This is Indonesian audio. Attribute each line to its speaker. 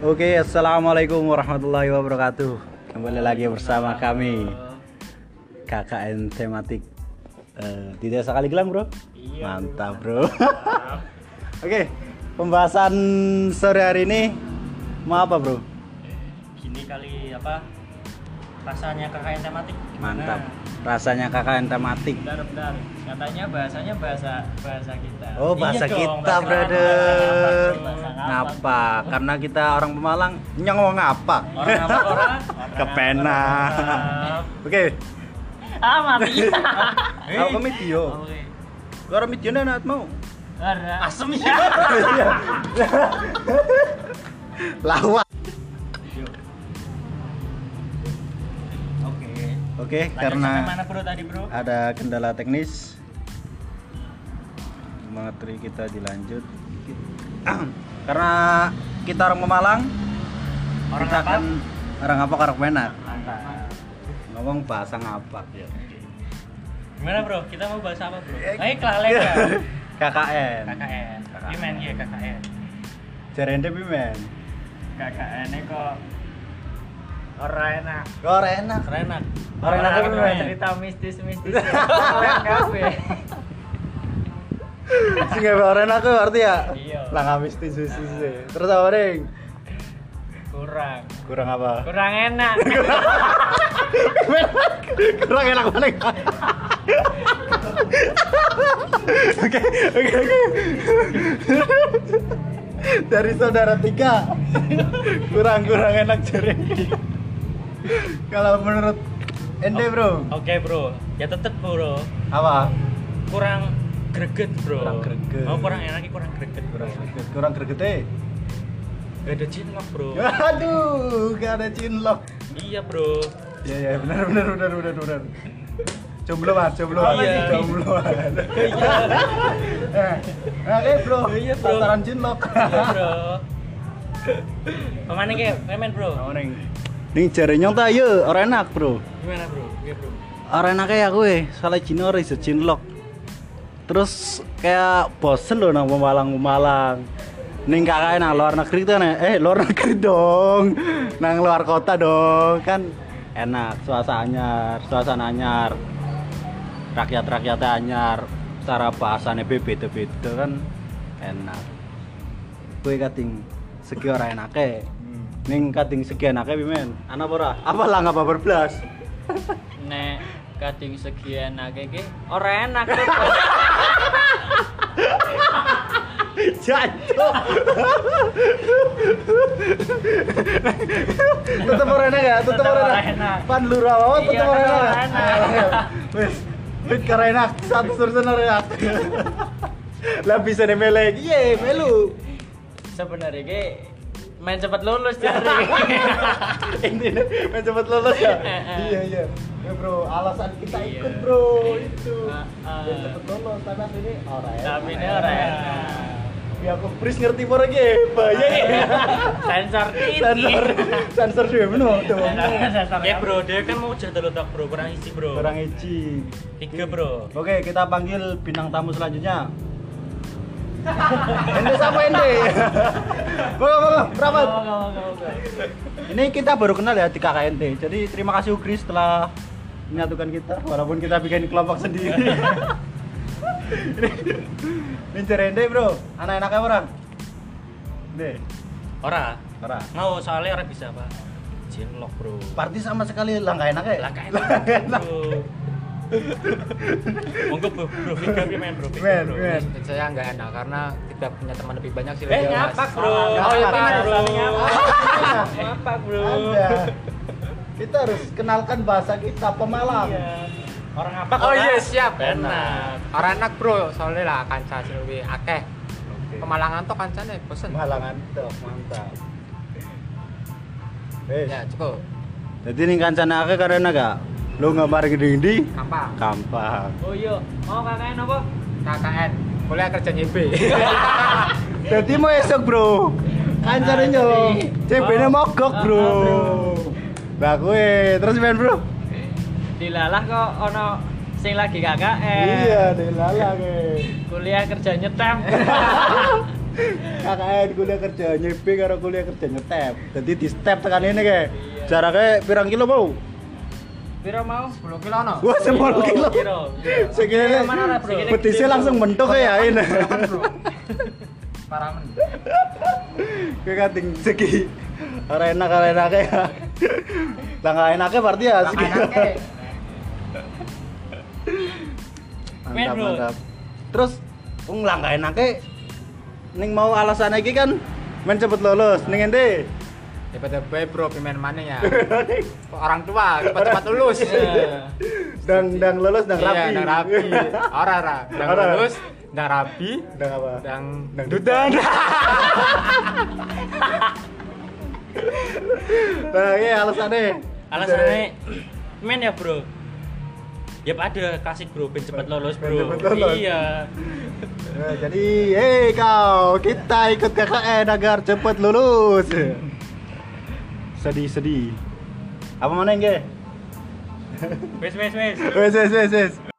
Speaker 1: Oke, assalamualaikum warahmatullahi wabarakatuh. Kembali lagi bersama kami KKN tematik eh, di Desa Kaligelang, bro.
Speaker 2: Iya.
Speaker 1: Mantap, bro. Oke, pembahasan sore hari ini mau apa, bro?
Speaker 2: gini kali apa rasanya KKN tematik gimana?
Speaker 1: Mantap.
Speaker 2: Nah.
Speaker 1: Rasanya KKN tematik.
Speaker 2: bentar bentar katanya bahasanya bahasa bahasa kita
Speaker 1: Oh, bahasa
Speaker 2: Iya dong,
Speaker 1: kita,
Speaker 2: bahasa
Speaker 1: brother.
Speaker 2: ngapak, bahasa ngapak.
Speaker 1: Ngapa? Karena kita orang Pemalang, nyong ngapa?
Speaker 2: orang apa orang
Speaker 1: Kepena. Oke,
Speaker 2: ah mati
Speaker 1: aku video.
Speaker 2: oke
Speaker 1: Orang video nanat mau.
Speaker 2: Ora. asem ya
Speaker 1: Lawa.
Speaker 2: oke
Speaker 1: Oke,
Speaker 2: Lanjut sampai
Speaker 1: karena
Speaker 2: mana bro tadi bro
Speaker 1: ada kendala teknis materi kita dilanjut. karena kita orang Pemalang,
Speaker 2: orang
Speaker 1: kita
Speaker 2: apa
Speaker 1: akan orang apa orang penak. Ah.
Speaker 2: Mantap.
Speaker 1: Ngomong bahasa ngapak ya.
Speaker 2: gimana bro kita mau bahas apa bro eh kelalaian ya?
Speaker 1: KKN.
Speaker 2: KKN
Speaker 1: KKN.
Speaker 2: gimana ya KKN
Speaker 1: Jarende pimen.
Speaker 2: KKN -nya kok ora enak
Speaker 1: Ora enak.
Speaker 2: Renak.
Speaker 1: Orang enak apa namanya?
Speaker 2: cerita mistis-mistis. Orang kafe.
Speaker 1: Sing gawe ora enak kuwi berarti ya.
Speaker 2: Iya.
Speaker 1: Lah ngabis susu-susu. Terus apa ring?
Speaker 2: Kurang.
Speaker 1: Kurang apa?
Speaker 2: Kurang enak.
Speaker 1: Kurang enak mana? Oke, oke, oke. Dari saudara tiga, kurang-kurang enak jari. Kalau menurut Ende bro,
Speaker 2: Oke, Bro. Ya tetep, Bro.
Speaker 1: apa?
Speaker 2: Kurang greget, Bro.
Speaker 1: Kurang greget.
Speaker 2: Mau kurang enak iki kurang greget, Bro.
Speaker 1: Kurang greget, kurang gregete.
Speaker 2: Gak ada cinlok, Bro.
Speaker 1: Ya. Aduh, gak ada cinlok.
Speaker 2: iya, Bro.
Speaker 1: Ya ya, benar benar benar benar benar. Jomblo mas, jomblo mas,
Speaker 2: Iya.
Speaker 1: jomblo mas. Eh, eh bro,
Speaker 2: Iya, bro.
Speaker 1: sasaran cinlok.
Speaker 2: Iya, Bro. Kemana ke? Remen, Bro.
Speaker 1: Neng, neng jare nyong ta yo, ora enak bro.
Speaker 2: Gimana, Bro? Iya, Bro.
Speaker 1: Ora enak ya kowe, soalnya jine ora iso cinlok. Terus kayak bosen loh nang pemalang-pemalang. Ning kakak nang luar negeri tuh nek, eh luar negeri dong. Nang luar kota dong, kan enak suasananya, suasana anyar. Rakyat-rakyatnya anyar, cara bahasane be beda-beda kan enak. Kowe kating segi ora enake. Ning kating segi enake pimen. Ana apa ora? Apa lah nggak babar blas?
Speaker 2: Nek kading sekian akeh ki ora enak.
Speaker 1: jatuh tutup orang enak ya tutup
Speaker 2: Tetep
Speaker 1: orang
Speaker 2: ora
Speaker 1: enak
Speaker 2: enak.
Speaker 1: pan lurawan tutup
Speaker 2: Iya,
Speaker 1: orang
Speaker 2: tetep
Speaker 1: enak
Speaker 2: ora enak.
Speaker 1: wes wes karena enak satu suruh orang enak lah bisa nih melek iya melu
Speaker 2: Sebenarnya ki main cepet lulus jadi.
Speaker 1: ini main cepet lulus ya
Speaker 2: Eh, eh.
Speaker 1: iya iya Ya bro, alasan kita
Speaker 2: Iya.
Speaker 1: ikut bro itu.
Speaker 2: Ah, ah.
Speaker 1: Biar cepet lulus, tapi ini orang enak.
Speaker 2: Tapi ini orang enak.
Speaker 1: Ya aku pris ngerti pora ge, bahaya
Speaker 2: Iya.
Speaker 1: ya.
Speaker 2: Sensor titik.
Speaker 1: sensor sensor dhewe meno to
Speaker 2: Ya bro, dia kan mau cerita letak bro, kurang isi bro.
Speaker 1: kurang iji
Speaker 2: Tiga bro.
Speaker 1: oke kita panggil bintang tamu selanjutnya ende sama ende monggo monggo rapat ini kita baru kenal ya di KKNT jadi terima kasih Ugri setelah menyatukan kita walaupun kita bikin kelompok sendiri Ini- ini cerende bro anak-anaknya orang deh
Speaker 2: Ora,
Speaker 1: orang
Speaker 2: mau soalnya ora bisa apa? Jinlok bro.
Speaker 1: party sama sekali langkah enaknya ya?
Speaker 2: Langkah enak bro. Monggo bro, bro, tiga bro, main bro. tiga,
Speaker 1: men
Speaker 2: bro.
Speaker 1: men
Speaker 3: saya nggak enak karena tidak punya teman lebih banyak sih
Speaker 2: Eh
Speaker 3: lebih enak.
Speaker 2: ngapak bro.
Speaker 1: Ah, ngapak,
Speaker 2: Oh iya benar bro.
Speaker 1: tapi ngapak.
Speaker 2: Ngapak bro.
Speaker 1: Ada. Kita harus kenalkan bahasa kita Pemalang.
Speaker 2: Iya. Orang ngapak.
Speaker 3: oh
Speaker 2: orang
Speaker 3: iya siap
Speaker 2: Enak.
Speaker 3: orang enak bro soalnya lah kanca sih lebih akeh
Speaker 1: Oke.
Speaker 3: pemalangan tuh kancane bosen
Speaker 1: Pemalangan tuh mantap.
Speaker 3: ya cukup
Speaker 1: Jadi ning kancane akeh karena gak lu nggak mari ngendi
Speaker 3: kampang
Speaker 1: gampang.
Speaker 2: Oh iya, mau kakaknya apa?
Speaker 3: KKN boleh kerja nyb
Speaker 1: Jadi mau esok bro. Kancane yo. CB-ne mogok bro. Lah kowe terus main bro.
Speaker 2: Dilalah kok ono sing lagi KKN.
Speaker 1: Iya, dilala kowe.
Speaker 2: Kuliah kerja nyetem.
Speaker 1: KKN kuliah kerja nyepi karo kuliah kerja nyetep jadi di step tekan ini kayak jaraknya pirang kilo mau
Speaker 2: Piro mau?
Speaker 3: 10 kilo no.
Speaker 1: wah 10 kilo
Speaker 2: Piro, piro.
Speaker 1: segini
Speaker 2: Piro mana lah, bro?
Speaker 1: petisnya langsung mentok ya ini
Speaker 3: Kan, Paramen.
Speaker 1: kayak kating segi orang enak orang enak ya lah nggak enaknya berarti ya segi
Speaker 3: Anaknya.
Speaker 2: Men,
Speaker 1: mantap
Speaker 2: bro.
Speaker 1: mantap terus ung lah nggak enaknya Neng mau alasan lagi kan men cepet lulus neng ente
Speaker 3: Daripada bae bro pimen mana ya. Orang tua cepat-cepat lulus.
Speaker 2: Iya,
Speaker 1: dang dang lulus dang rapi
Speaker 3: Iya, dang rapi. Ora ora, dang
Speaker 1: Ora.
Speaker 3: lulus, dang rapi,
Speaker 1: dang apa
Speaker 3: dang
Speaker 1: Dang
Speaker 3: dudan.
Speaker 1: nah iya alasannya
Speaker 2: Alasannya men ya, Bro. Ya ada kasih bro, ben cepet lulus
Speaker 1: Ben cepet
Speaker 2: bro.
Speaker 1: lulus.
Speaker 2: Iya.
Speaker 1: Nah, jadi hei kau kita ikut KKN agar cepet lulus sedih sedih apa mana yang
Speaker 2: Wes wes wes.
Speaker 1: wes wes wes wes